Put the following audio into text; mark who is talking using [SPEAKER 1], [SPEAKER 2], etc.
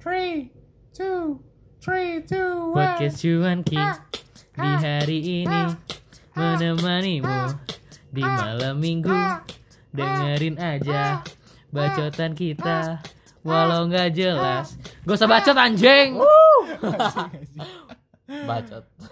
[SPEAKER 1] Three, two, three, two, one.
[SPEAKER 2] Buat cuan Ki
[SPEAKER 1] Ah,
[SPEAKER 2] di hari ini
[SPEAKER 1] ah,
[SPEAKER 2] menemanimu
[SPEAKER 1] ah,
[SPEAKER 2] di
[SPEAKER 1] ah,
[SPEAKER 2] malam minggu. Dengerin aja
[SPEAKER 1] ah,
[SPEAKER 2] bacotan kita walau nggak jelas. Gak usah bacot anjing. Bacot.